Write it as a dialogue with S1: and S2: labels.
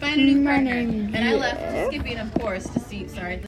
S1: new partner.
S2: name
S1: And I left
S2: Viv.
S1: Skippy and of course to see. Sorry.